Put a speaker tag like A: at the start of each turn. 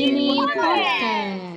A: 对，